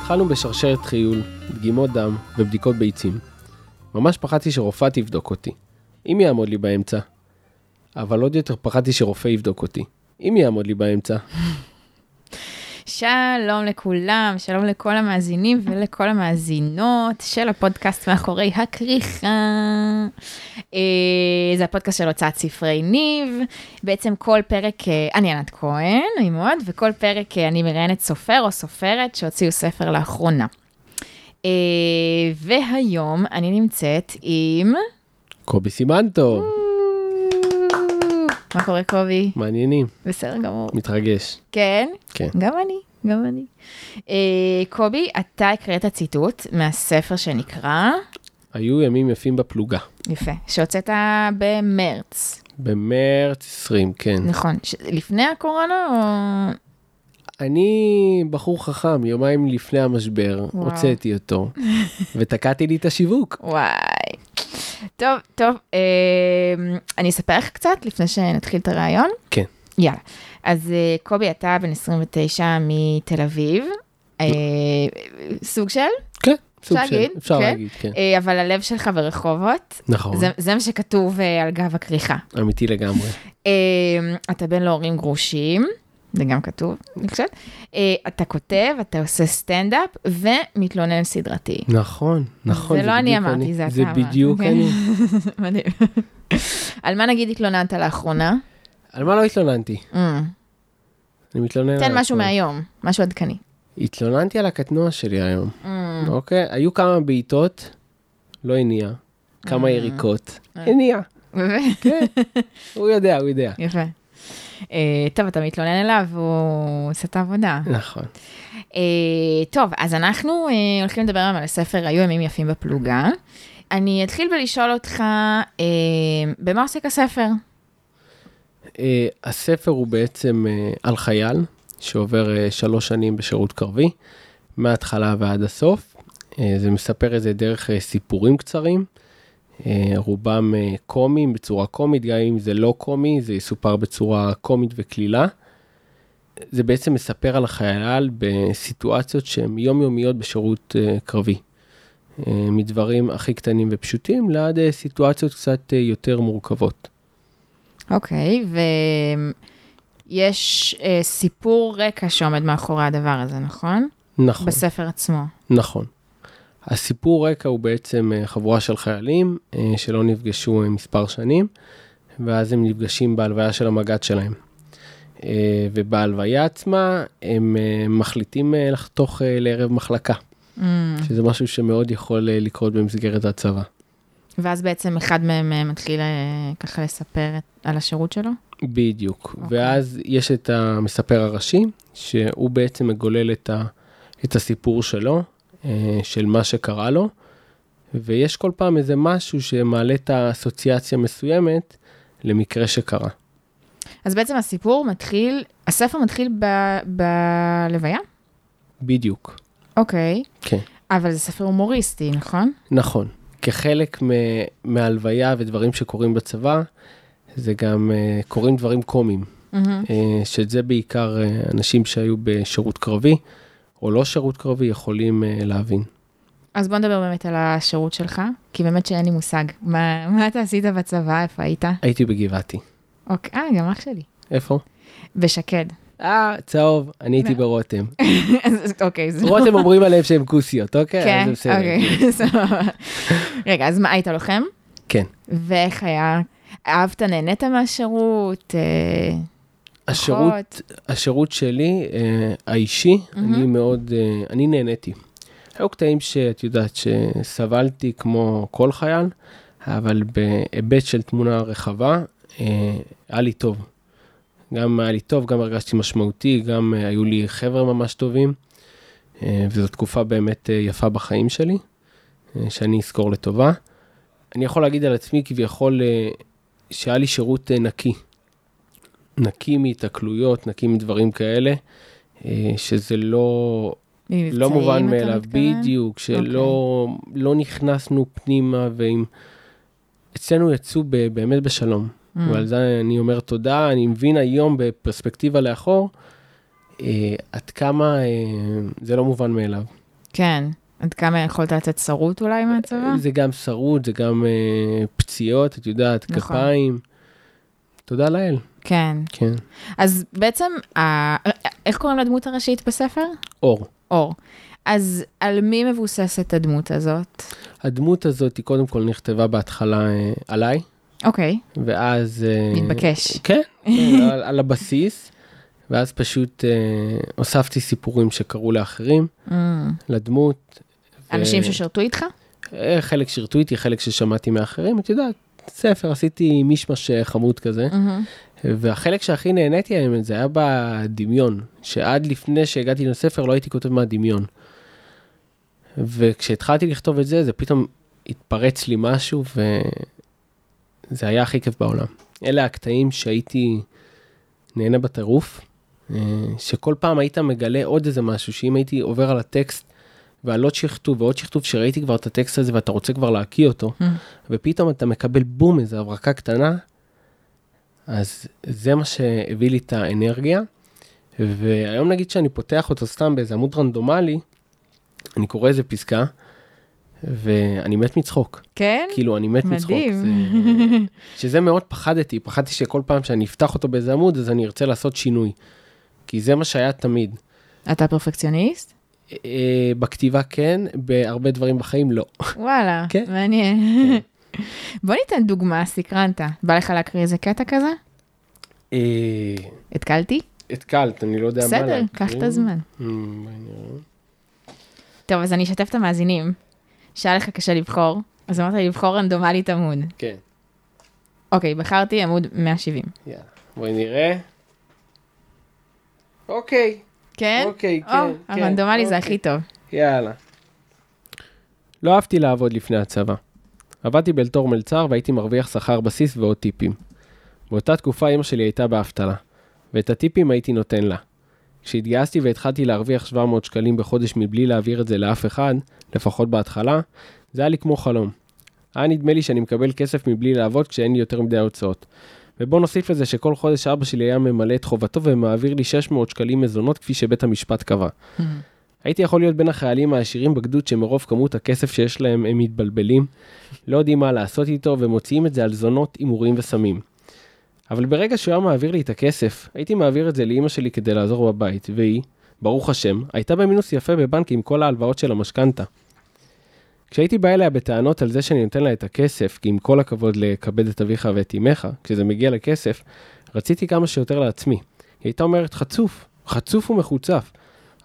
התחלנו בשרשרת חיול, דגימות דם ובדיקות ביצים. ממש פחדתי שרופאה תבדוק אותי, אם יעמוד לי באמצע. אבל עוד יותר פחדתי שרופא יבדוק אותי, אם יעמוד לי באמצע. שלום לכולם, שלום לכל המאזינים ולכל המאזינות של הפודקאסט מאחורי הכריכה. אה, זה הפודקאסט של הוצאת ספרי ניב. בעצם כל פרק, אה, אני ענת כהן, נמרוד, וכל פרק אה, אני מראיינת סופר או סופרת שהוציאו ספר לאחרונה. אה, והיום אני נמצאת עם... קובי סימנטו, מה קורה קובי? מעניינים, בסדר גמור. מתרגש. כן? כן. גם אני, גם אני. אה, קובי, אתה הקראת ציטוט מהספר שנקרא, היו ימים יפים בפלוגה, יפה, שהוצאת Mm. במרץ, במרץ 20, כן. נכון, ש... לפני הקורונה או... אני בחור חכם, יומיים לפני המשבר, וואו. הוצאתי אותו, ותקעתי לי את השיווק. וואי. טוב, טוב, אה, אני אספר לך קצת לפני שנתחיל את הרעיון. כן. יאללה. אז אה, קובי, אתה בן 29 מתל אביב, אה, סוג של, כן, סוג של, להגיד? אפשר כן. להגיד, כן. אה, אבל הלב שלך ברחובות, נכון, זה, זה מה שכתוב אה, על גב הכריכה. אמיתי לגמרי. אה, אתה בן להורים גרושים, זה גם כתוב, אני חושבת. אה, אתה כותב, אתה עושה סטנדאפ ומתלונן סדרתי. נכון, נכון. זה לא אני בדיוק אמרתי, זה אתה זה אמרת. בדיוק כן. אני. מדהים. על מה נגיד התלוננת לאחרונה? על מה לא התלוננתי? אה, אני מתלונן. תן על משהו הכל. מהיום, משהו עדכני. התלוננתי על הקטנוע שלי היום, אה, אוקיי? היו כמה בעיטות, לא הניע. כמה אה. יריקות, הניע. באמת? כן, הוא יודע, הוא יודע. יפה. אה, טוב, אתה מתלונן אליו, הוא עושה את העבודה. נכון. אה, טוב, אז אנחנו אה, הולכים לדבר היום על הספר "היו ימים יפים בפלוגה". אני אתחיל בלשאול אותך, אה, במה עוסק הספר? אה, הספר הוא בעצם אה, על חייל שעובר אה, שלוש שנים בשירות קרבי, מההתחלה ועד הסוף. אה, זה מספר את זה דרך אה, סיפורים קצרים, אה, רובם אה, קומיים, בצורה קומית, גם אם זה לא קומי, זה יסופר בצורה קומית וקלילה. זה בעצם מספר על החייל בסיטואציות שהן יומיומיות בשירות אה, קרבי. אה, מדברים הכי קטנים ופשוטים לעד אה, סיטואציות קצת אה, יותר מורכבות. אוקיי, ויש אה, סיפור רקע שעומד מאחורי הדבר הזה, נכון? נכון. בספר עצמו. נכון. הסיפור רקע הוא בעצם אה, חבורה של חיילים אה, שלא נפגשו אה, מספר שנים, ואז הם נפגשים בהלוויה של המג"ד שלהם. אה, ובהלוויה עצמה הם אה, מחליטים אה, לחתוך אה, לערב מחלקה, Mm. שזה משהו שמאוד יכול אה, לקרות במסגרת הצבא. ואז בעצם אחד מהם אה, מתחיל אה, ככה לספר את- על השירות שלו? בדיוק. אוקיי. ואז יש את המספר הראשי, שהוא בעצם מגולל את, ה, את הסיפור שלו, אה, של מה שקרה לו, ויש כל פעם איזה משהו שמעלה את האסוציאציה מסוימת למקרה שקרה. אז בעצם הסיפור מתחיל, הספר מתחיל ב- בלוויה? בדיוק. אוקיי. כן. אבל זה ספר הומוריסטי, נכון? נכון. כחלק מ- מהלוויה ודברים שקורים בצבא, זה גם אה, קורים דברים קומיים. מהמם. אה, שזה בעיקר אה, אנשים שהיו בשירות קרבי, או לא שירות קרבי, יכולים אה, להבין. אז בוא נדבר באמת על השירות שלך, כי באמת שאין לי מושג. מה, מה אתה עשית בצבא, איפה היית? הייתי בגבעתי. אוקיי, אה, גם אח שלי. איפה? בשקד. אה, צהוב, אני הייתי לא. ברותם. אז אוקיי, זה לא... רותם אומרים עליהם שהם כוסיות, אוקיי? כן, אז זה בסדר. אוקיי, סבבה. רגע, אז מה, היית לוחם? כן. ואיך היה? אהבת, נהנית מהשירות? אה, השירות, פחות? השירות שלי, אה, האישי, אני מאוד, אה, אני נהניתי. היו קטעים שאת יודעת שסבלתי כמו כל חייל, אבל בהיבט של תמונה רחבה, אה, היה לי טוב. גם היה לי טוב, גם הרגשתי משמעותי, גם אה, היו לי חבר'ה ממש טובים, אה, וזו תקופה באמת אה, יפה בחיים שלי, אה, שאני אזכור לטובה. אני יכול להגיד על עצמי כביכול אה, שהיה לי שירות אה, נקי. נקי מהיתקלויות, נקי מדברים כאלה, אה, שזה לא, ממבצעים, לא מובן אתה מאליו, מתכוון? אוקיי. בדיוק, שלא לא נכנסנו פנימה ועם... אצלנו יצאו ב, באמת בשלום, Mm. mm. ועל זה אני אומר תודה, אני מבין היום בפרספקטיבה לאחור, אה, עד כמה אה, זה לא מובן מאליו. כן. עד כמה יכולת לתת שרות אולי מהצבא? אה, זה גם שרות, זה גם אה, פציעות, את יודעת, נכון. כפיים. תודה לאל, כן. כן. אז בעצם, ה- איך קוראים לדמות הראשית בספר? אור. אור. אז על מי מבוססת הדמות הזאת? הדמות הזאת היא קודם כל נכתבה בהתחלה אה, עליי, אוקיי, ואז... אה, מתבקש. כן, כן, על, על הבסיס, ואז פשוט אה, הוספתי סיפורים שקרו לאחרים, אה, לדמות. אוקיי. ו- אנשים ששירתו איתך? אה, חלק שירתו איתי, חלק ששמעתי מאחרים, את יודעת, ספר, עשיתי מישמש אה, חמוד כזה. מהמם. והחלק שהכי נהניתי האמת זה היה בדמיון, שעד לפני שהגעתי לספר לא הייתי כותב מהדמיון. וכשהתחלתי לכתוב את זה, זה פתאום התפרץ לי משהו וזה היה הכי כיף בעולם. אלה הקטעים שהייתי נהנה בטירוף, אה, שכל פעם היית מגלה עוד איזה משהו, שאם הייתי עובר על הטקסט ועל עוד שכתוב ועוד שכתוב, שראיתי כבר את הטקסט הזה ואתה רוצה כבר להקיא אותו, Mm. ופתאום אתה מקבל בום, איזו הברקה קטנה, אז זה מה שהביא לי את האנרגיה. והיום נגיד שאני פותח אותו סתם באיזה עמוד רנדומלי, אני קורא איזה פסקה, ואני מת מצחוק. כן? כאילו, אני מת מצחוק. מדהים. זה- שזה מאוד פחדתי, פחדתי שכל פעם שאני אפתח אותו באיזה עמוד, אז אני ארצה לעשות שינוי. כי זה מה שהיה תמיד. אתה פרפקציוניסט? אה, בכתיבה כן, בהרבה דברים בחיים לא. וואלה, כן. מעניין. בוא ניתן דוגמה, סקרנת. בא לך להקריא איזה קטע כזה? אה, התקלתי? התקלת, אני לא יודע מה בסדר, קח את להקריא. הזמן. אה, בואי נראה. טוב, אז אני אשתף את המאזינים, שהיה לך קשה לבחור, אז אמרת לי לבחור רנדומלית עמוד. כן, אוקיי, בחרתי עמוד 170. יאללה. בואי נראה. אוקיי, כן? אוקיי, כן, או, כן. הרנדומלי זה אוקיי. הכי טוב. יאללה. לא אהבתי לעבוד לפני הצבא. עבדתי בתור מלצר והייתי מרוויח שכר בסיס ועוד טיפים. באותה תקופה אמא שלי הייתה באבטלה, ואת הטיפים הייתי נותן לה. כשהתגייסתי והתחלתי להרוויח 700 שקלים בחודש מבלי להעביר את זה לאף אחד, לפחות בהתחלה, זה היה לי כמו חלום. היה נדמה לי שאני מקבל כסף מבלי לעבוד כשאין לי יותר מדי הוצאות. ובוא נוסיף לזה שכל חודש אבא שלי היה ממלא את חובתו ומעביר לי 600 שקלים מזונות כפי שבית המשפט קבע. הייתי יכול להיות בין החיילים העשירים בגדוד שמרוב כמות הכסף שיש להם הם מתבלבלים, לא יודעים מה לעשות איתו ומוציאים את זה על זונות, הימורים וסמים. אבל ברגע שהוא היה מעביר לי את הכסף, הייתי מעביר את זה לאימא שלי כדי לעזור בבית, והיא, ברוך השם, הייתה במינוס יפה בבנק עם כל ההלוואות של המשכנתה. כשהייתי בא אליה בטענות על זה שאני נותן לה את הכסף, כי עם כל הכבוד לכבד את אביך ואת אמך, כשזה מגיע לכסף, רציתי כמה שיותר לעצמי. היא הייתה אומרת חצוף, חצוף ומחוצף.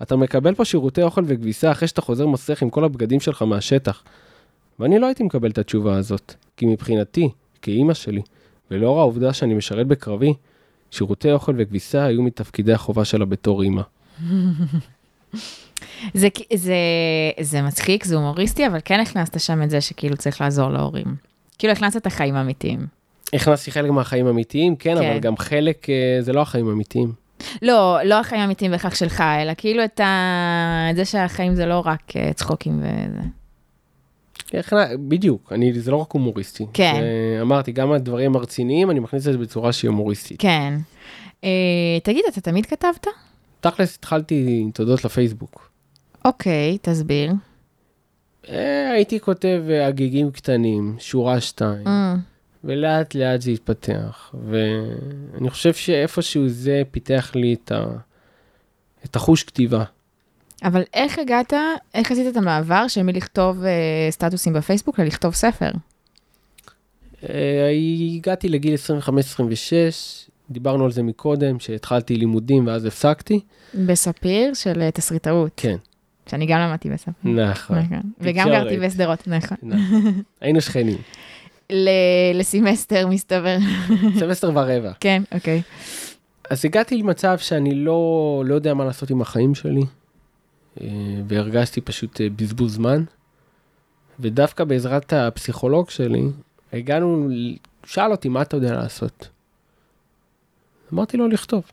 אתה מקבל פה שירותי אוכל וכביסה אחרי שאתה חוזר מסריח עם כל הבגדים שלך מהשטח. ואני לא הייתי מקבל את התשובה הזאת, כי מבחינתי, כאימא שלי, ולאור העובדה שאני משרת בקרבי, שירותי אוכל וכביסה היו מתפקידי החובה שלה בתור אימא. זה, כ- זה, זה מצחיק, זה הומוריסטי, אבל כן הכנסת שם את זה שכאילו צריך לעזור להורים. כאילו הכנסת את החיים האמיתיים. הכנסתי חלק מהחיים האמיתיים, כן, כן. כן, אבל גם חלק אה, זה לא החיים האמיתיים. לא, לא החיים האמיתיים בהכרח שלך, אלא כאילו את, ה... את זה שהחיים זה לא רק אה, צחוקים וזה. הכנ- בדיוק, אני, זה לא רק הומוריסטי. כן. זה- אמרתי, גם הדברים הרציניים, אני מכניס את זה בצורה שהיא הומוריסטית. כן. אה, תגיד, אתה תמיד כתבת? תכלס, התחלתי עם תודות לפייסבוק. אוקיי, תסביר. אה, הייתי כותב אה, הגיגים קטנים, שורה שתיים, אה, ולאט לאט זה התפתח, ואני חושב שאיפשהו זה פיתח לי את, ה... את החוש כתיבה. אבל איך הגעת, איך עשית את המעבר של מלכתוב אה, סטטוסים בפייסבוק ללכתוב ספר? אה, הגעתי לגיל 25-26, דיברנו על זה מקודם, שהתחלתי לימודים ואז הפסקתי. בספיר של אה, תסריטאות. כן. שאני גם למדתי בספיר. נכון. נכון. וגם תקשורת. גרתי בשדרות, נכון. נכון. היינו שכנים, ל- לסמסטר מסתבר. סמסטר ורבע. כן, אוקיי. אז הגעתי למצב שאני לא, לא יודע מה לעשות עם החיים שלי, אה, והרגשתי פשוט אה, בזבוז זמן, ודווקא בעזרת הפסיכולוג שלי, הגענו, ל- שאל אותי, מה אתה יודע לעשות? אמרתי לו, לכתוב.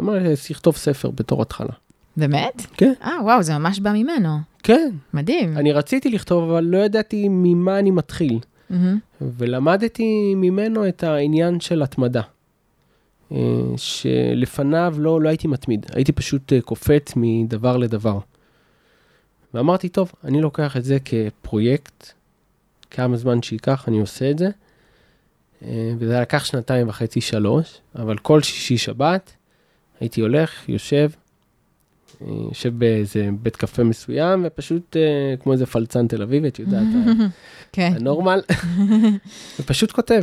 אמר לי, לכתוב ספר בתור התחלה. באמת? כן. אה, וואו, זה ממש בא ממנו. כן, מדהים. אני רציתי לכתוב, אבל לא ידעתי ממה אני מתחיל. מהמם. ולמדתי ממנו את העניין של התמדה. אה, שלפניו לא, לא הייתי מתמיד, הייתי פשוט אה, קופץ מדבר לדבר. ואמרתי, טוב, אני לוקח את זה כפרויקט, כמה זמן שייקח, אני עושה את זה. אה, וזה לקח שנתיים וחצי, שלוש, אבל כל שישי שבת הייתי הולך, יושב, אה, יושב באיזה בית קפה מסוים, ופשוט אה, כמו איזה פלצן תל אביב, את יודעת, ה- כן. הנורמל, ופשוט כותב.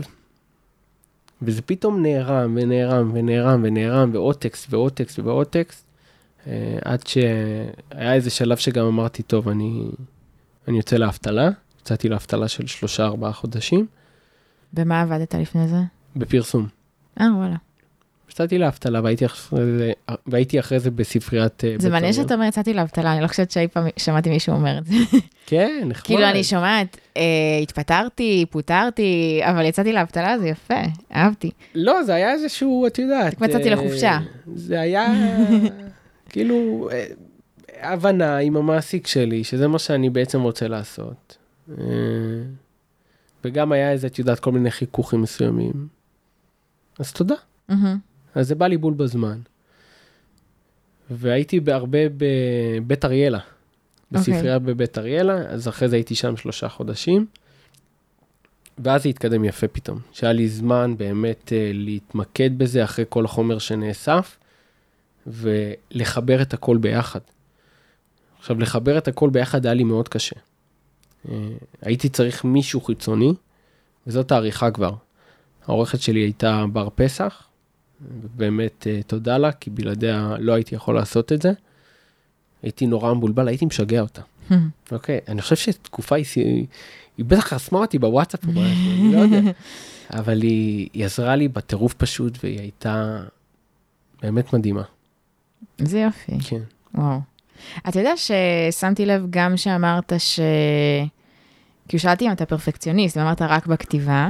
וזה פתאום נערם ונערם ונערם ונערם ועוד טקסט ועוד טקסט ועוד טקסט, אה, עד שהיה איזה שלב שגם אמרתי, טוב, אני, אני יוצא לאבטלה, יצאתי לאבטלה של שלושה ארבעה חודשים, במה עבדת לפני זה? בפרסום. אה, וואלה. יצאתי לאבטלה והייתי אחרי זה, והייתי אחרי זה בספריית... אה, זה בית מעניין אורן. שאתה אומר, יצאתי לאבטלה, אני לא חושבת שאי פעם שמעתי מישהו אומר את זה. כן, נחמד. כאילו, אני שומעת, אה, התפטרתי, פוטרתי, אבל יצאתי לאבטלה, זה יפה, אהבתי. לא, זה היה איזשהו, את יודעת... רק מצאתי אה, לחופשה. זה היה כאילו אה, הבנה עם המעסיק שלי, שזה מה שאני בעצם רוצה לעשות. אה, וגם היה איזה, את יודעת, כל מיני חיכוכים מסוימים. אז תודה. מהמם. אז זה בא לי בול בזמן. והייתי בהרבה בבית אריאלה, בספרייה בבית אריאלה, אז אחרי זה הייתי שם שלושה חודשים, ואז זה התקדם יפה פתאום, שהיה לי זמן באמת אה, להתמקד בזה אחרי כל החומר שנאסף, ולחבר את הכל ביחד. עכשיו, לחבר את הכל ביחד היה לי מאוד קשה. אה, הייתי צריך מישהו חיצוני, וזאת העריכה כבר. העורכת שלי הייתה בר פסח, באמת אה, תודה לה, כי בלעדיה לא הייתי יכול לעשות את זה. הייתי נורא מבולבל, הייתי משגע אותה. אוקיי, אני חושב שתקופה היא, היא, היא בטח חסמה אותי בוואטסאפ, או משהו, אני לא יודע. אבל היא, היא עזרה לי בטירוף פשוט, והיא הייתה באמת מדהימה. זה יופי. כן. וואו. אתה יודע ששמתי לב גם שאמרת ש... כאילו שאלתי אם אתה פרפקציוניסט, ואמרת רק בכתיבה,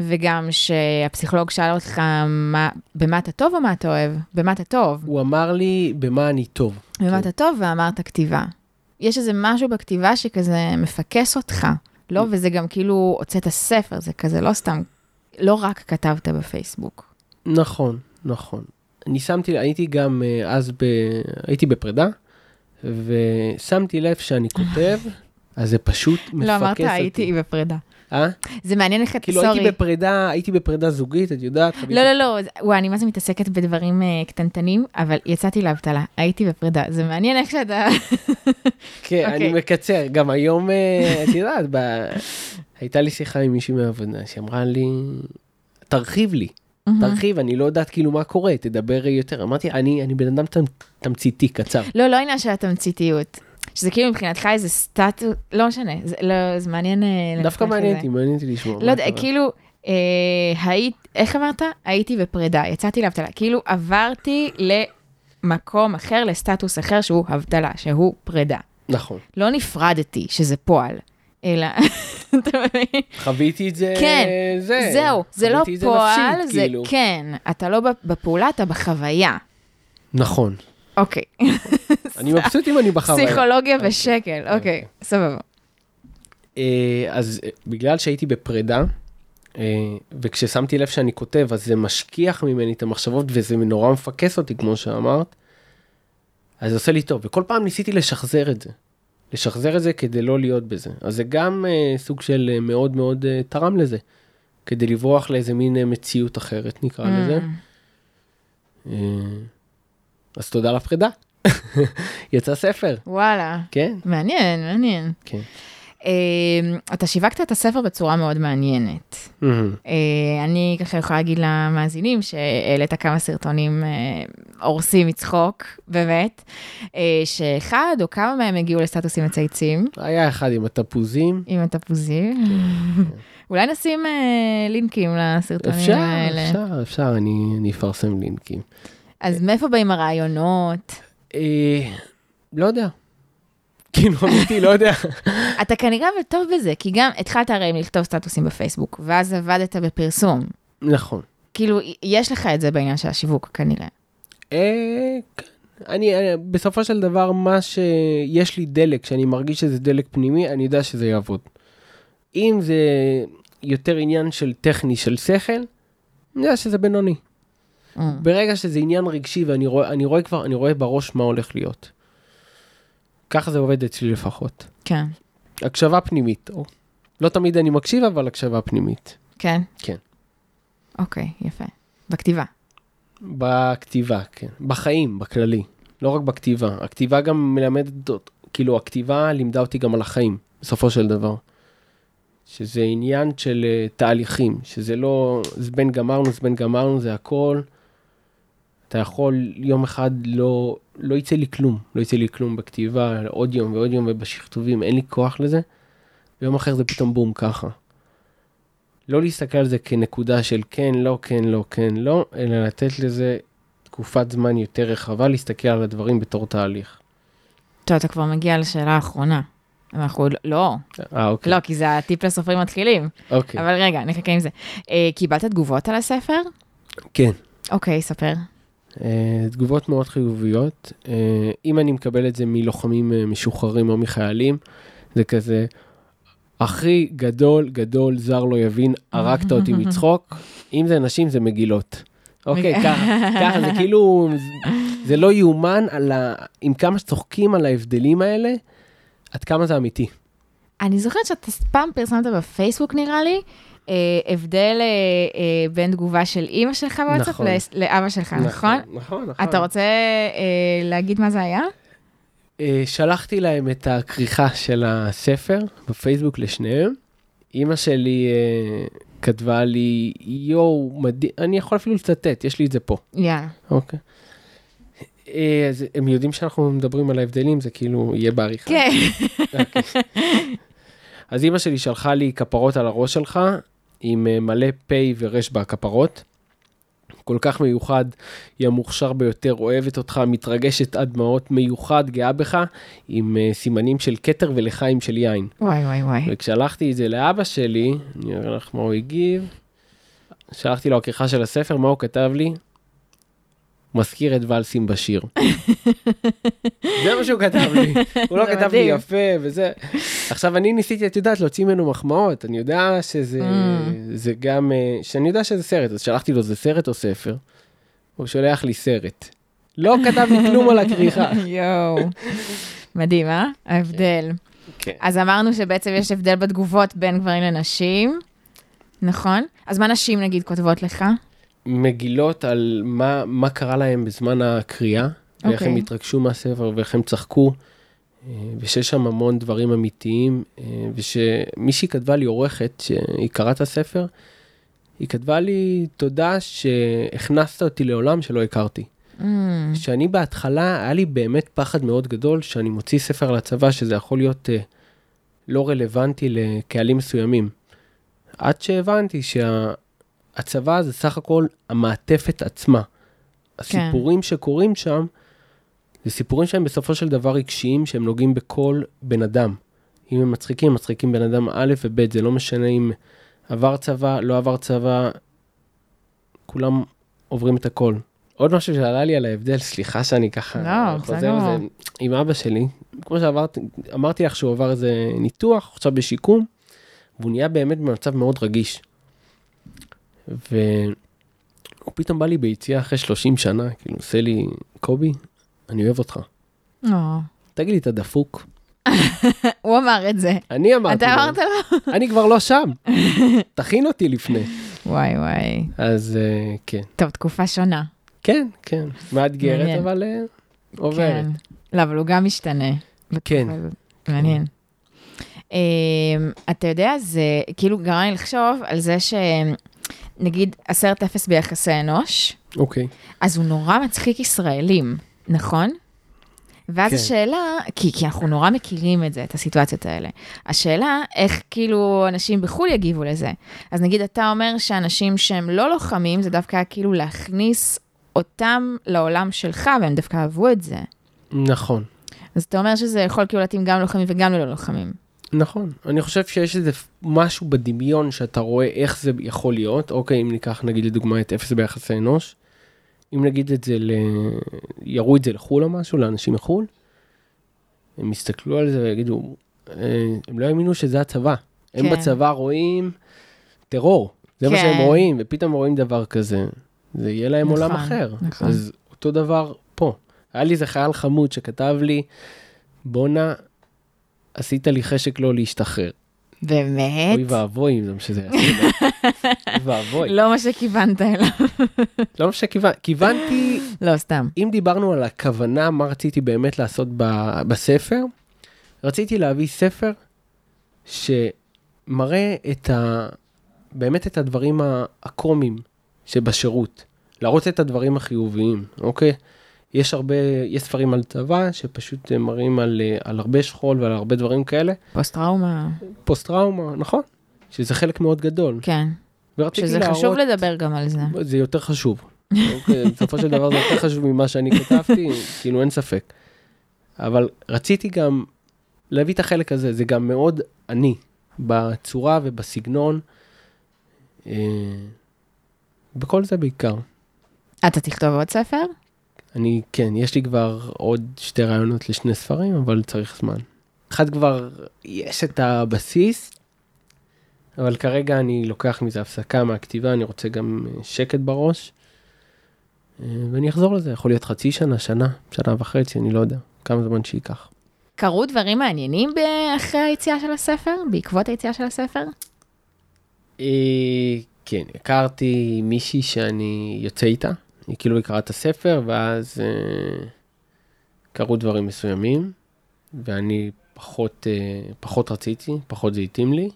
וגם שהפסיכולוג שאל אותך מה... במה אתה טוב או מה אתה אוהב? במה אתה טוב. הוא אמר לי במה אני טוב. במה כן. אתה טוב ואמרת כתיבה. יש איזה משהו בכתיבה שכזה מפקס אותך, לא? וזה גם כאילו הוצאת ספר, זה כזה לא סתם, לא רק כתבת בפייסבוק. נכון, נכון. אני שמתי, הייתי גם אה, אז, ב, הייתי בפרידה, ושמתי לב שאני כותב, אז זה פשוט מפקס אותי. לא, אמרת הייתי בפרידה. אה? זה מעניין לך, כאילו סורי. הייתי בפרידה, הייתי בפרידה זוגית, את יודעת, חוויתי- לא, לא, לא, זה- וואי, אני מה זה מתעסקת בדברים אה, קטנטנים, אבל יצאתי לאבטלה, הייתי בפרידה, זה מעניין איך שאתה... כן, אני אוקיי. מקצר, גם היום, אה, את יודעת, ב- הייתה לי שיחה עם מישהי מהעבודה שאמרה לי, תרחיב לי, Mm-hmm. תרחיב, אני לא יודעת כאילו מה קורה, תדבר יותר. אמרתי, אני אני בן אדם תמ- תמציתי, קצר. לא, לא עניין של התמציתיות, שזה כאילו מבחינתך איזה סטטוס, לא משנה, זה לא, זה מעניין... אה, לנתח דווקא את זה. מעניין אותי, מעניין אותי לשמוע. מה לא יודע, קרה. כאילו, אה, היית, איך אמרת? הייתי בפרידה, יצאתי לאבטלה. כאילו, עברתי למקום אחר, לסטטוס אחר, שהוא אבטלה, שהוא פרידה. נכון, לא נפרדתי, שזה פועל, אלא, אתה מבין? חוויתי את זה, כן, זה. זהו, זה לא חוויתי את פועל, נפשית, זה כאילו. כן. אתה לא בפ- בפעולה, אתה בחוויה. נכון, אוקיי. אני מבסוט אם אני בחוויה. פסיכולוגיה בשקל, אוקיי, סבבה. אה, אז אה, בגלל שהייתי בפרידה, אה, וכששמתי לב שאני כותב, אז זה משכיח ממני את המחשבות, וזה נורא מפקס אותי, כמו שאמרת, אז זה עושה לי טוב. וכל פעם ניסיתי לשחזר את זה. לשחזר את זה כדי לא להיות בזה. אז זה גם אה, סוג של אה, מאוד מאוד אה, תרם לזה. כדי לברוח לאיזה מין אה, מציאות אחרת, Mm. נקרא לזה. אה, אז תודה לפרידה. יצא ספר, וואלה, כן, מעניין, מעניין. כן. אה, אתה שיווקת את הספר בצורה מאוד מעניינת. מהמם. אה, אני ככה יכולה להגיד למאזינים שהעלית כמה סרטונים אה, הורסים מצחוק, באמת, אה, שאחד או כמה מהם הגיעו לסטטוסים מצייצים, היה אחד עם התפוזים. עם התפוזים. אולי נשים אה, לינקים לסרטונים כן. אפשר, האלה. אפשר, אפשר, אני, אני אפרסם לינקים. אז מאיפה באים הרעיונות? אה, לא יודע. כאילו, אמיתי, לא יודע. אתה כנראה אבל טוב בזה, כי גם התחלת הרי לכתוב סטטוסים בפייסבוק, ואז עבדת בפרסום. נכון. כאילו, יש לך את זה בעניין של השיווק כנראה. אה, כן. אני, אני, בסופו של דבר, מה שיש לי דלק, שאני מרגיש שזה דלק פנימי, אני יודע שזה יעבוד. אם זה יותר עניין של טכני, של שכל, אני יודע שזה בינוני. Mm. ברגע שזה עניין רגשי ואני רואה, אני רואה כבר, אני רואה בראש מה הולך להיות. ככה זה עובד אצלי לפחות. כן, הקשבה פנימית. או. לא תמיד אני מקשיב, אבל הקשבה פנימית. כן? כן. אוקיי, יפה. בכתיבה. בכתיבה, כן. בחיים, בכללי. לא רק בכתיבה. הכתיבה גם מלמדת, אות- כאילו, הכתיבה לימדה אותי גם על החיים, בסופו של דבר. שזה עניין של אה, תהליכים, שזה לא זבן גמרנו, זבן גמרנו, זה הכל. אתה יכול, יום אחד לא, לא יצא לי כלום, לא יצא לי כלום בכתיבה, עוד יום ועוד יום ובשכתובים, אין לי כוח לזה. ויום אחר זה פתאום בום, ככה. לא להסתכל על זה כנקודה של כן, לא, כן, לא, כן, לא, אלא לתת לזה תקופת זמן יותר רחבה, להסתכל על הדברים בתור תהליך. טוב, אתה כבר מגיע לשאלה האחרונה. אנחנו עוד לא, אה, אוקיי. לא, כי זה הטיפ לסופרים מתחילים. אוקיי. אבל רגע, נחכה עם זה. אה, קיבלת תגובות על הספר? כן. אוקיי, ספר. אה, תגובות מאוד חיוביות. אה, אם אני מקבל את זה מלוחמים אה, משוחררים או מחיילים, זה כזה, הכי גדול, גדול, זר לא יבין, הרגת אותי מצחוק. אם זה נשים, זה מגילות. אוקיי, מג- ככה, ככה, זה כאילו, זה- זה לא יאומן על ה... עם כמה שצוחקים על ההבדלים האלה, עד כמה זה אמיתי. אני זוכרת שאתה פעם פרסמת בפייסבוק, נראה לי, אה, הבדל אה, אה, בין תגובה של אימא שלך בוואטסאפ נכון. לס- לאבא שלך, נכון? נכון, נכון. אתה רוצה אה, להגיד מה זה היה? אה, שלחתי להם את הכריכה של הספר בפייסבוק לשניהם. אימא שלי אה, כתבה לי, יואו, מדהים, אני יכול אפילו לצטט, יש לי את זה פה. יאללה. אוקיי. אה, אז הם יודעים שאנחנו מדברים על ההבדלים, זה כאילו יהיה בעריכה. כן. אוקיי. אז אימא שלי שלחה לי כפרות על הראש שלך, עם אה, מלא פ' ור' בכפרות. כל כך מיוחד, היא המוכשר ביותר, אוהבת אותך, מתרגשת עד דמעות, מיוחד, גאה בך, עם אה, סימנים של כתר ולחיים של יין. וואי, וואי, וואי. אוקיי. וכשהלכתי את זה לאבא שלי, אני אומר לך מה הוא הגיב, שלחתי לו הכריכה של הספר, מה הוא כתב לי? מזכיר את ולסים בשיר. זה מה שהוא כתב לי, הוא לא זה כתב לי מדהים. יפה וזה. עכשיו אני ניסיתי, את יודעת, להוציא ממנו מחמאות, אני יודע שזה Mm. זה גם, אה, שאני יודע שזה סרט, אז שלחתי לו, זה סרט או ספר? הוא שולח לי סרט. לא כתב לי כלום על הכריכה. יואו. מדהים, אה? ההבדל. כן. אז אמרנו שבעצם יש הבדל בתגובות בין גברים לנשים, נכון? אז מה נשים, נגיד, כותבות לך? מגילות על מה, מה קרה להם בזמן הקריאה, okay. ואיך הם אוקיי. התרגשו מהספר, ואיך הם צחקו, אה, ושיש שם המון דברים אמיתיים, אה, ושמישהי כתבה לי, עורכת, שהיא קראה את הספר, היא כתבה לי, תודה שהכנסת אותי לעולם שלא הכרתי. Mm, שאני בהתחלה, היה לי באמת פחד מאוד גדול שאני מוציא ספר לצבא, שזה יכול להיות אה, לא רלוונטי לקהלים מסוימים. עד שהבנתי שהצבא זה סך הכל המעטפת עצמה. הסיפורים שקורים שם, זה סיפורים שהם בסופו של דבר רגשיים, שהם נוגעים בכל בן אדם. אם הם מצחיקים, הם מצחיקים בן אדם א' וב', זה לא משנה אם עבר צבא, לא עבר צבא, כולם עוברים את הכל. עוד משהו שעלה לי על ההבדל, סליחה שאני ככה לא, בסדר. על זה, עם אבא שלי, כמו שאמרתי אמרתי לך שהוא עבר איזה ניתוח, הוא עכשיו בשיקום, והוא נהיה באמת במצב מאוד רגיש. והוא פתאום בא לי ביציאה אחרי 30 שנה, כאילו, עושה לי, קובי, אני אוהב אותך. או. תגיד לי, אתה דפוק? אה. הוא אמר את זה. אני אמרתי, אתה לו, אמרת לו? אני כבר לא שם, תכין אותי לפני. וואי, וואי. אז אה, כן, טוב, תקופה שונה. כן, כן, מאתגרת, מעניין. אבל אה, עוברת. כן. לא, אבל הוא גם משתנה. כן. בתקופה הזאת. מעניין. אמ, אתה יודע, זה כאילו גרם לי לחשוב על זה שנגיד עשרת אפס ביחסי אנוש, אוקיי. אז הוא נורא מצחיק ישראלים, נכון? ואז כן. כן. השאלה, כי, כי אנחנו נורא מכירים את זה, את הסיטואציות האלה. השאלה, איך כאילו אנשים בחו"ל יגיבו לזה. אז נגיד אתה אומר שאנשים שהם לא לוחמים, זה דווקא כאילו להכניס אותם לעולם שלך, והם דווקא אהבו את זה. נכון, אז אתה אומר שזה יכול כאילו להתאים גם ללוחמים וגם ללא לוחמים. נכון. אני חושב שיש איזה משהו בדמיון שאתה רואה איך זה יכול להיות. אוקיי, אם ניקח נגיד לדוגמה את אפס ביחסי אנוש, אם נגיד את זה ל... יראו את זה לחו"ל או משהו, לאנשים מחו"ל, הם יסתכלו על זה ויגידו, אה, הם לא האמינו שזה הצבא. הם כן. בצבא רואים טרור, זה מה שהם כן. רואים, ופתאום רואים דבר כזה, זה יהיה להם עולם נכון, אחר. נכון. אז אותו דבר פה. היה לי איזה חייל חמוד שכתב לי, בואנה, עשית לי חשק לא להשתחרר. באמת? אוי ואבוי אם זה מה שזה יעשה. אוי ואבוי. לא מה שכיוונת אליו. לא מה שכיוונתי, כיוונתי, לא, סתם. אם דיברנו על הכוונה, מה רציתי באמת לעשות ב- בספר, רציתי להביא ספר שמראה את ה... באמת את הדברים ה- הקומיים שבשירות. להראות את הדברים החיוביים, אוקיי? יש הרבה, יש ספרים על צבא שפשוט אה, מראים על, אה, על הרבה שכול ועל הרבה דברים כאלה. פוסט-טראומה, פוסט טראומה, נכון? שזה חלק מאוד גדול. כן. ורציתי שזה להראות... חשוב לדבר גם על זה. זה יותר חשוב. אוקיי, בסופו של דבר זה יותר חשוב ממה שאני כתבתי, כאילו אין ספק. אבל רציתי גם להביא את החלק הזה, זה גם מאוד אני, בצורה ובסגנון, אה, בכל זה בעיקר. אתה תכתוב עוד ספר? אני, כן, יש לי כבר עוד שתי רעיונות לשני ספרים, אבל צריך זמן. אחד כבר, יש את הבסיס, אבל כרגע אני לוקח מזה הפסקה מהכתיבה, אני רוצה גם אה, שקט בראש, אה, ואני אחזור לזה, יכול להיות חצי שנה, שנה, שנה וחצי, אני לא יודע, כמה זמן שייקח. קרו דברים מעניינים ב- אחרי היציאה של הספר? בעקבות היציאה של הספר? אה, כן, הכרתי מישהי שאני יוצא איתה, היא כאילו היא קראה את הספר, ואז אה, קרו דברים מסוימים, ואני פחות, אה, פחות רציתי, פחות זה התאים לי.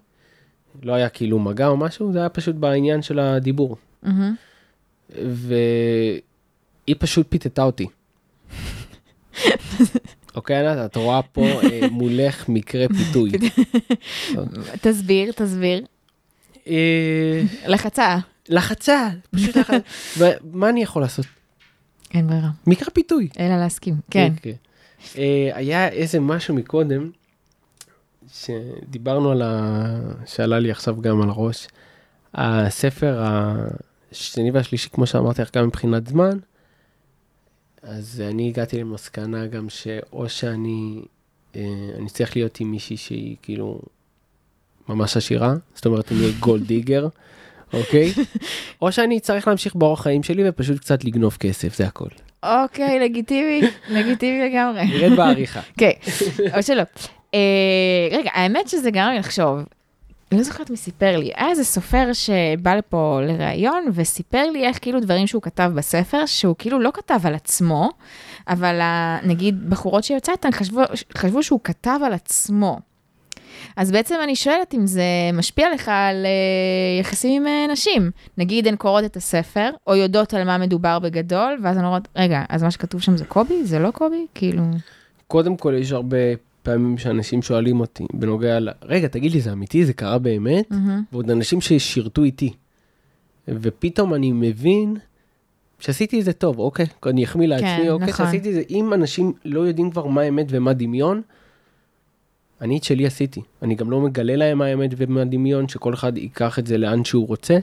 לא היה כאילו מגע או משהו, זה היה פשוט בעניין של הדיבור. מהמם. והיא פשוט פיתתה אותי. אוקיי, ענת, את רואה פה אה, מולך מקרה פיתוי. תסביר, תסביר. אה, לחצה. לחצה, פשוט לחצה. ומה אני יכול לעשות? אין ברירה. מקרה פיתוי. אלא להסכים. כן. אה, היה איזה משהו מקודם, שדיברנו על ה... שעלה לי עכשיו גם על הראש. הספר השני והשלישי, כמו שאמרתי לך, גם מבחינת זמן, אז אני הגעתי למסקנה גם שאו שאני, אה, אני צריך להיות עם מישהי שהיא כאילו ממש עשירה, זאת אומרת, אני אהיה גולד דיגר, אוקיי? או שאני צריך להמשיך באורח חיים שלי ופשוט קצת לגנוב כסף, זה הכל. אוקיי, לגיטימי, לגיטימי לגמרי. נרד בעריכה. אוקיי, או שלא. אה, רגע, האמת שזה גרם לי לחשוב. אני לא זוכרת מי סיפר לי. היה איזה סופר שבא לפה לראיון וסיפר לי איך כאילו דברים שהוא כתב בספר, שהוא כאילו לא כתב על עצמו, אבל ה- נגיד בחורות שיוצא איתן חשבו, חשבו שהוא כתב על עצמו. אז בעצם אני שואלת אם זה משפיע לך על אה, יחסים עם אה, נשים. נגיד הן קוראות את הספר, או יודעות על מה מדובר בגדול, ואז הן אומרות, רגע, אז מה שכתוב שם זה קובי? זה לא קובי? כאילו... קודם כל, יש הרבה פעמים שאנשים שואלים אותי בנוגע ל... רגע, תגיד לי, זה אמיתי? זה קרה באמת? מהמם. ועוד אנשים ששירתו איתי. ופתאום אני מבין שעשיתי את זה טוב, אוקיי? אני אחמיא לעצמי, אוקיי? נכון. שעשיתי את זה. אם אנשים לא יודעים כבר מה אמת ומה דמיון, אני את שלי עשיתי. אני גם לא מגלה להם מה האמת ומה דמיון, שכל אחד ייקח את זה לאן שהוא רוצה.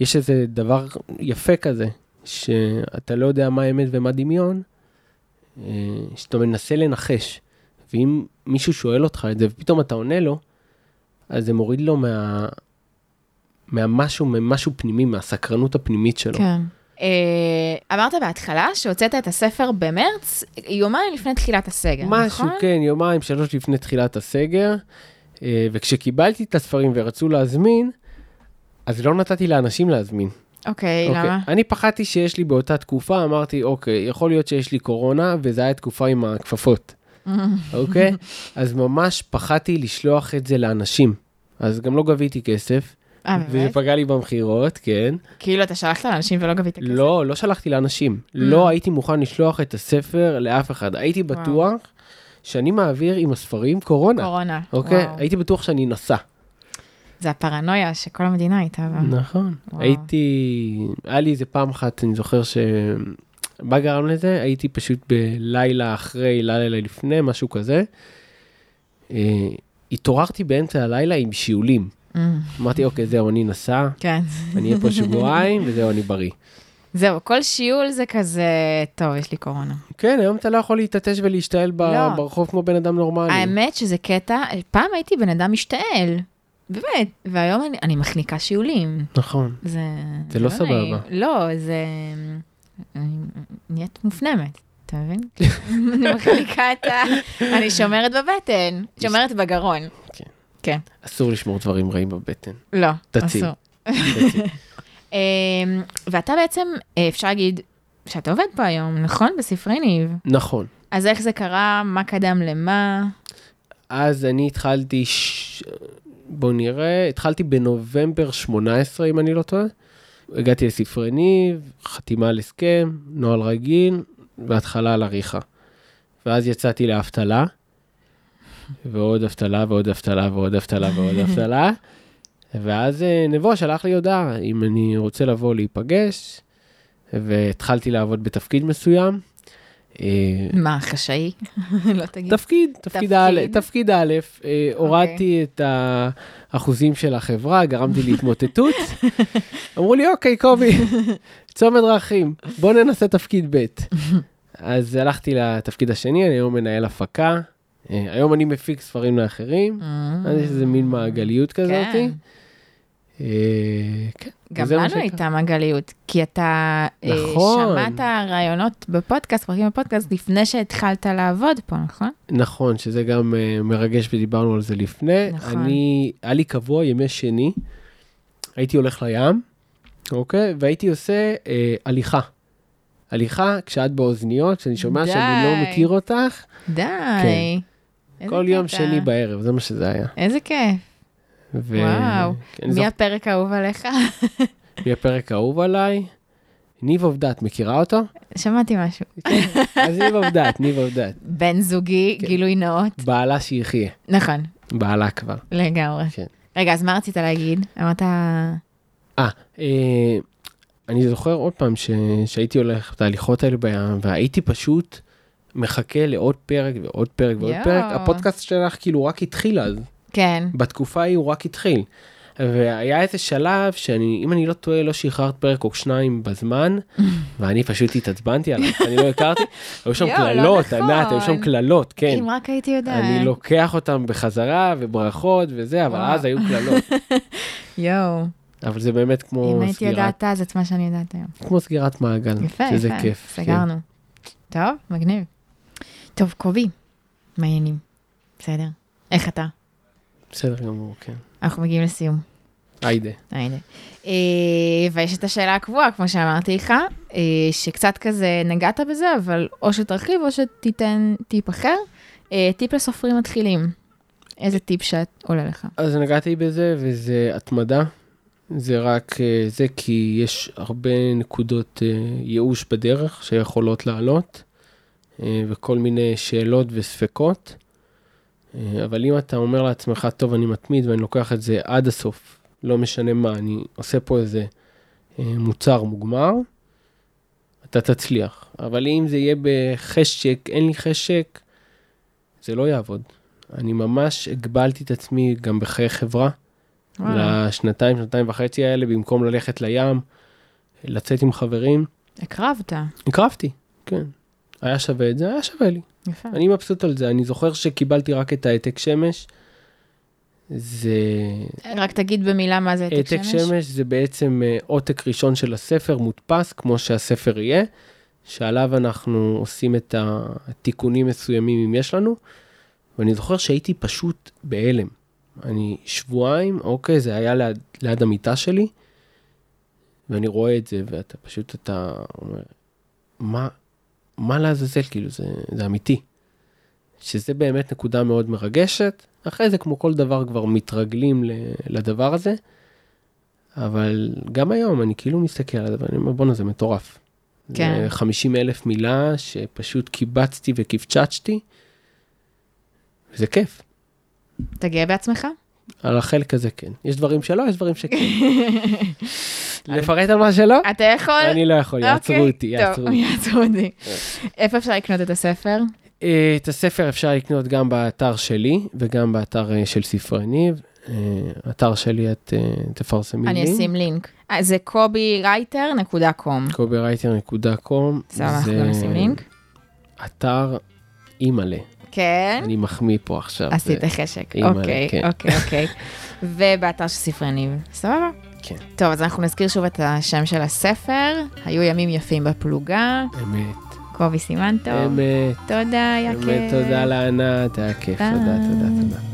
יש איזה דבר יפה כזה, שאתה לא יודע מה האמת ומה דמיון, אה, שאתה מנסה לנחש. ואם מישהו שואל אותך את זה ופתאום אתה עונה לו, אז זה מוריד לו מה... מהמשהו, ממשהו פנימי, מהסקרנות הפנימית שלו. כן. אה, אמרת בהתחלה שהוצאת את הספר במרץ, יומיים לפני תחילת הסגר, נכון? משהו, כן, יומיים, שלוש לפני תחילת הסגר, אה, וכשקיבלתי את הספרים ורצו להזמין, אז לא נתתי לאנשים להזמין. אוקיי, אוקיי. למה? אני פחדתי שיש לי באותה תקופה, אמרתי, אוקיי, יכול להיות שיש לי קורונה, וזה היה תקופה עם הכפפות, אוקיי? אז ממש פחדתי לשלוח את זה לאנשים. אז גם לא גביתי כסף, אה, וזה באמת? פגע לי במכירות, כן. כאילו אתה שלחת לאנשים ולא גבית כסף? לא, לא שלחתי לאנשים. לא הייתי מוכן לשלוח את הספר לאף אחד. הייתי אה. וואו. בטוח שאני מעביר עם הספרים קורונה. קורונה. אוקיי? וואו. הייתי בטוח שאני נשא. זה הפרנויה שכל המדינה הייתה בה. נכון. אה. וואו. הייתי... היה לי איזה פעם אחת, אני זוכר ש... מה גרם לזה? הייתי פשוט בלילה אחרי, לילה לפני, משהו כזה. אה, התעוררתי באמצע הלילה עם שיעולים. אמ, אמרתי, אוקיי, זהו, אני נשא, כן. אני אהיה פה שבועיים, וזהו, אני בריא. זהו, כל שיעול זה כזה, טוב, יש לי קורונה. כן, היום אתה לא יכול להתעטש ולהשתעל ב- לא. ברחוב כמו בן אדם נורמלי. האמת שזה קטע, פעם הייתי בן אדם משתעל, באמת, והיום אני- אני מחניקה שיעולים. נכון. זה... זה לא סבבה. נעים. לא, זה... אני נהיית מופנמת. אתה אתה מבין? אני מחליקה את ה... אני שומרת בבטן, שומרת בגרון. כן. כן. אסור לשמור דברים רעים בבטן. לא, תציל. אסור. אמ, ואתה בעצם, אה, אפשר להגיד, שאתה עובד פה היום, נכון? בספרי ניב. נכון. אז איך זה קרה? מה קדם למה? אז אני התחלתי, ש... בואו נראה, התחלתי בנובמבר 18, אם אני לא טועה. הגעתי לספרי ניב, חתימה על הסכם, נוהל רגיל, והתחלה על עריכה. ואז יצאתי לאבטלה, ועוד אבטלה, ועוד אבטלה, ועוד אבטלה, ועוד אבטלה. ואז אה, נבו שלח לי הודעה, אם אני רוצה לבוא להיפגש, והתחלתי לעבוד בתפקיד מסוים. אה, מה, חשאי? לא תגיד. תפקיד, תפקיד תפקיד. א', תפקיד א', אה, הורדתי את האחוזים של החברה, גרמתי להתמוטטות. אמרו לי, אוקיי, קובי, צומת דרכים, בוא ננסה תפקיד ב'. אז הלכתי לתפקיד השני, אני היום מנהל הפקה. אה, היום אני מפיק ספרים לאחרים, אז יש איזה מין מעגליות כזאת. אה. כן. אה, כן. גם וזה מה לנו שקרה. הייתה מעגליות, כי אתה אה, נכון. שמעת רעיונות בפודקאסט, פרקים בפודקאסט, לפני שהתחלת לעבוד פה, נכון? נכון, שזה גם uh, מרגש ודיברנו על זה לפני. נכון. אני, היה לי קבוע ימי שני, הייתי הולך לים, אוקיי? והייתי עושה uh, הליכה. הליכה כשאת באוזניות, שאני שומע שאני לא די. מכיר אותך, די. איזה כן. כל יום קטע. שני בערב, זה מה שזה היה. איזה כיף. ו... וואו. כן, מי זוכ... הפרק האהוב עליך? מי הפרק האהוב עליי? ניב עובדת, מכירה אותו? שמעתי משהו. אז ניב עובדת, ניב עובדת. בן זוגי, כן. גילוי נאות. בעלה שיחיה, נכון, בעלה כבר. לגמרי. כן. רגע, אז מה רצית להגיד? אמרת... אה, אה, אני זוכר עוד פעם ש... שהייתי הולך את ההליכות האלה בים, והייתי פשוט מחכה לעוד פרק ועוד פרק ועוד יואו. פרק. הפודקאסט שלך כאילו רק התחיל אז, כן. בתקופה ההיא הוא רק התחיל. והיה איזה שלב שאני, אם אני לא טועה, לא שחררת פרק או שניים בזמן, ואני פשוט התעצבנתי עליו, אני לא הכרתי. היו שם יואו, לא קללות, נכון. ענת, היו שם קללות, כן. אם רק הייתי יודעת. אני לא. לוקח אותם בחזרה וברכות וזה, אבל וואו. אז היו קללות. יואו, אבל זה באמת כמו אם הייתי סגירת יודעת אז את מה שאני יודעת היום. כמו סגירת מעגל, יפה, שזה יפה. כיף. כן. סגרנו. טוב, מגניב. טוב, קובי, מה העניינים? בסדר. איך אתה? כן, בסדר גמור, כן. אנחנו מגיעים לסיום. היידה. הנה. אה, ויש את השאלה הקבועה, כמו שאמרתי לך, אה, שקצת כזה נגעת בזה, אבל או שתרחיב או שתיתן טיפ אחר. אה, טיפ לסופרים מתחילים. איזה טיפ שאת עולה לך. אז נגעתי בזה, וזה התמדה. זה רק אה, זה כי יש הרבה נקודות אה, ייאוש בדרך שיכולות לעלות, אה, וכל מיני שאלות וספקות. אה, אבל אם אתה אומר לעצמך, טוב, אני מתמיד ואני לוקח את זה עד הסוף, לא משנה מה, אני עושה פה איזה אה, מוצר מוגמר, אתה תצליח. אבל אם זה יהיה בחשק, אין לי חשק, זה לא יעבוד. אני ממש הגבלתי את עצמי גם בחיי חברה, וואלה, לשנתיים, שנתיים וחצי האלה, במקום ללכת לים, לצאת עם חברים, הקרבת. הקרבתי, כן. היה שווה את זה, היה שווה לי. יפה. אני מבסוט על זה, אני זוכר שקיבלתי רק את העתק שמש. זה... רק תגיד במילה מה זה אה, העתק העתק שמש. שמש זה בעצם אה, עותק ראשון של הספר, מודפס, כמו שהספר יהיה, שעליו אנחנו עושים את התיקונים מסוימים אם יש לנו. ואני זוכר שהייתי פשוט בהלם. אני שבועיים, אוקיי, זה היה ליד, ליד המיטה שלי, ואני רואה את זה, ואתה פשוט, אתה אומר, מה, מה לעזאזל, כאילו, זה, זה אמיתי. שזה באמת נקודה מאוד מרגשת. אחרי זה, כמו כל דבר, כבר מתרגלים ל- לדבר הזה, אבל גם היום אני כאילו מסתכל על הדבר, אני אומר, בואנה, זה מטורף. כן. זה 50 אלף מילה שפשוט קיבצתי וקפצצתי, וזה כיף. אתה גאה בעצמך? על החלק הזה כן. יש דברים שלא, יש דברים שכן. לפרט על מה שלא? אתה יכול? אני לא יכול, יעצרו אוקיי, אותי, יעצרו טוב, אותי. יעצרו אותי. כן. איפה אפשר לקנות את הספר? אה, את הספר אפשר לקנות גם באתר שלי וגם באתר אה, של ספרי ניב. אה, אתר שלי את אה, תפרסמי לי. אני אשים לינק. אה, זה קובי.רייטר.קום. copywriter.com. סבבה, אנחנו גם נשים לינק. אתר אימאלה. כן. אני מחמיא פה עכשיו. עשית זה- חשק, אימא'לה, אוקיי, כן. אוקיי, אוקיי. ובאתר של ספרי ניב, סבבה? כן. טוב, אז אנחנו נזכיר שוב את השם של הספר, היו ימים יפים בפלוגה, אמת. קובי סימן טוב. באמת, תודה, יקר. באמת תודה לענת, היה כיף, תודה, תודה, תודה.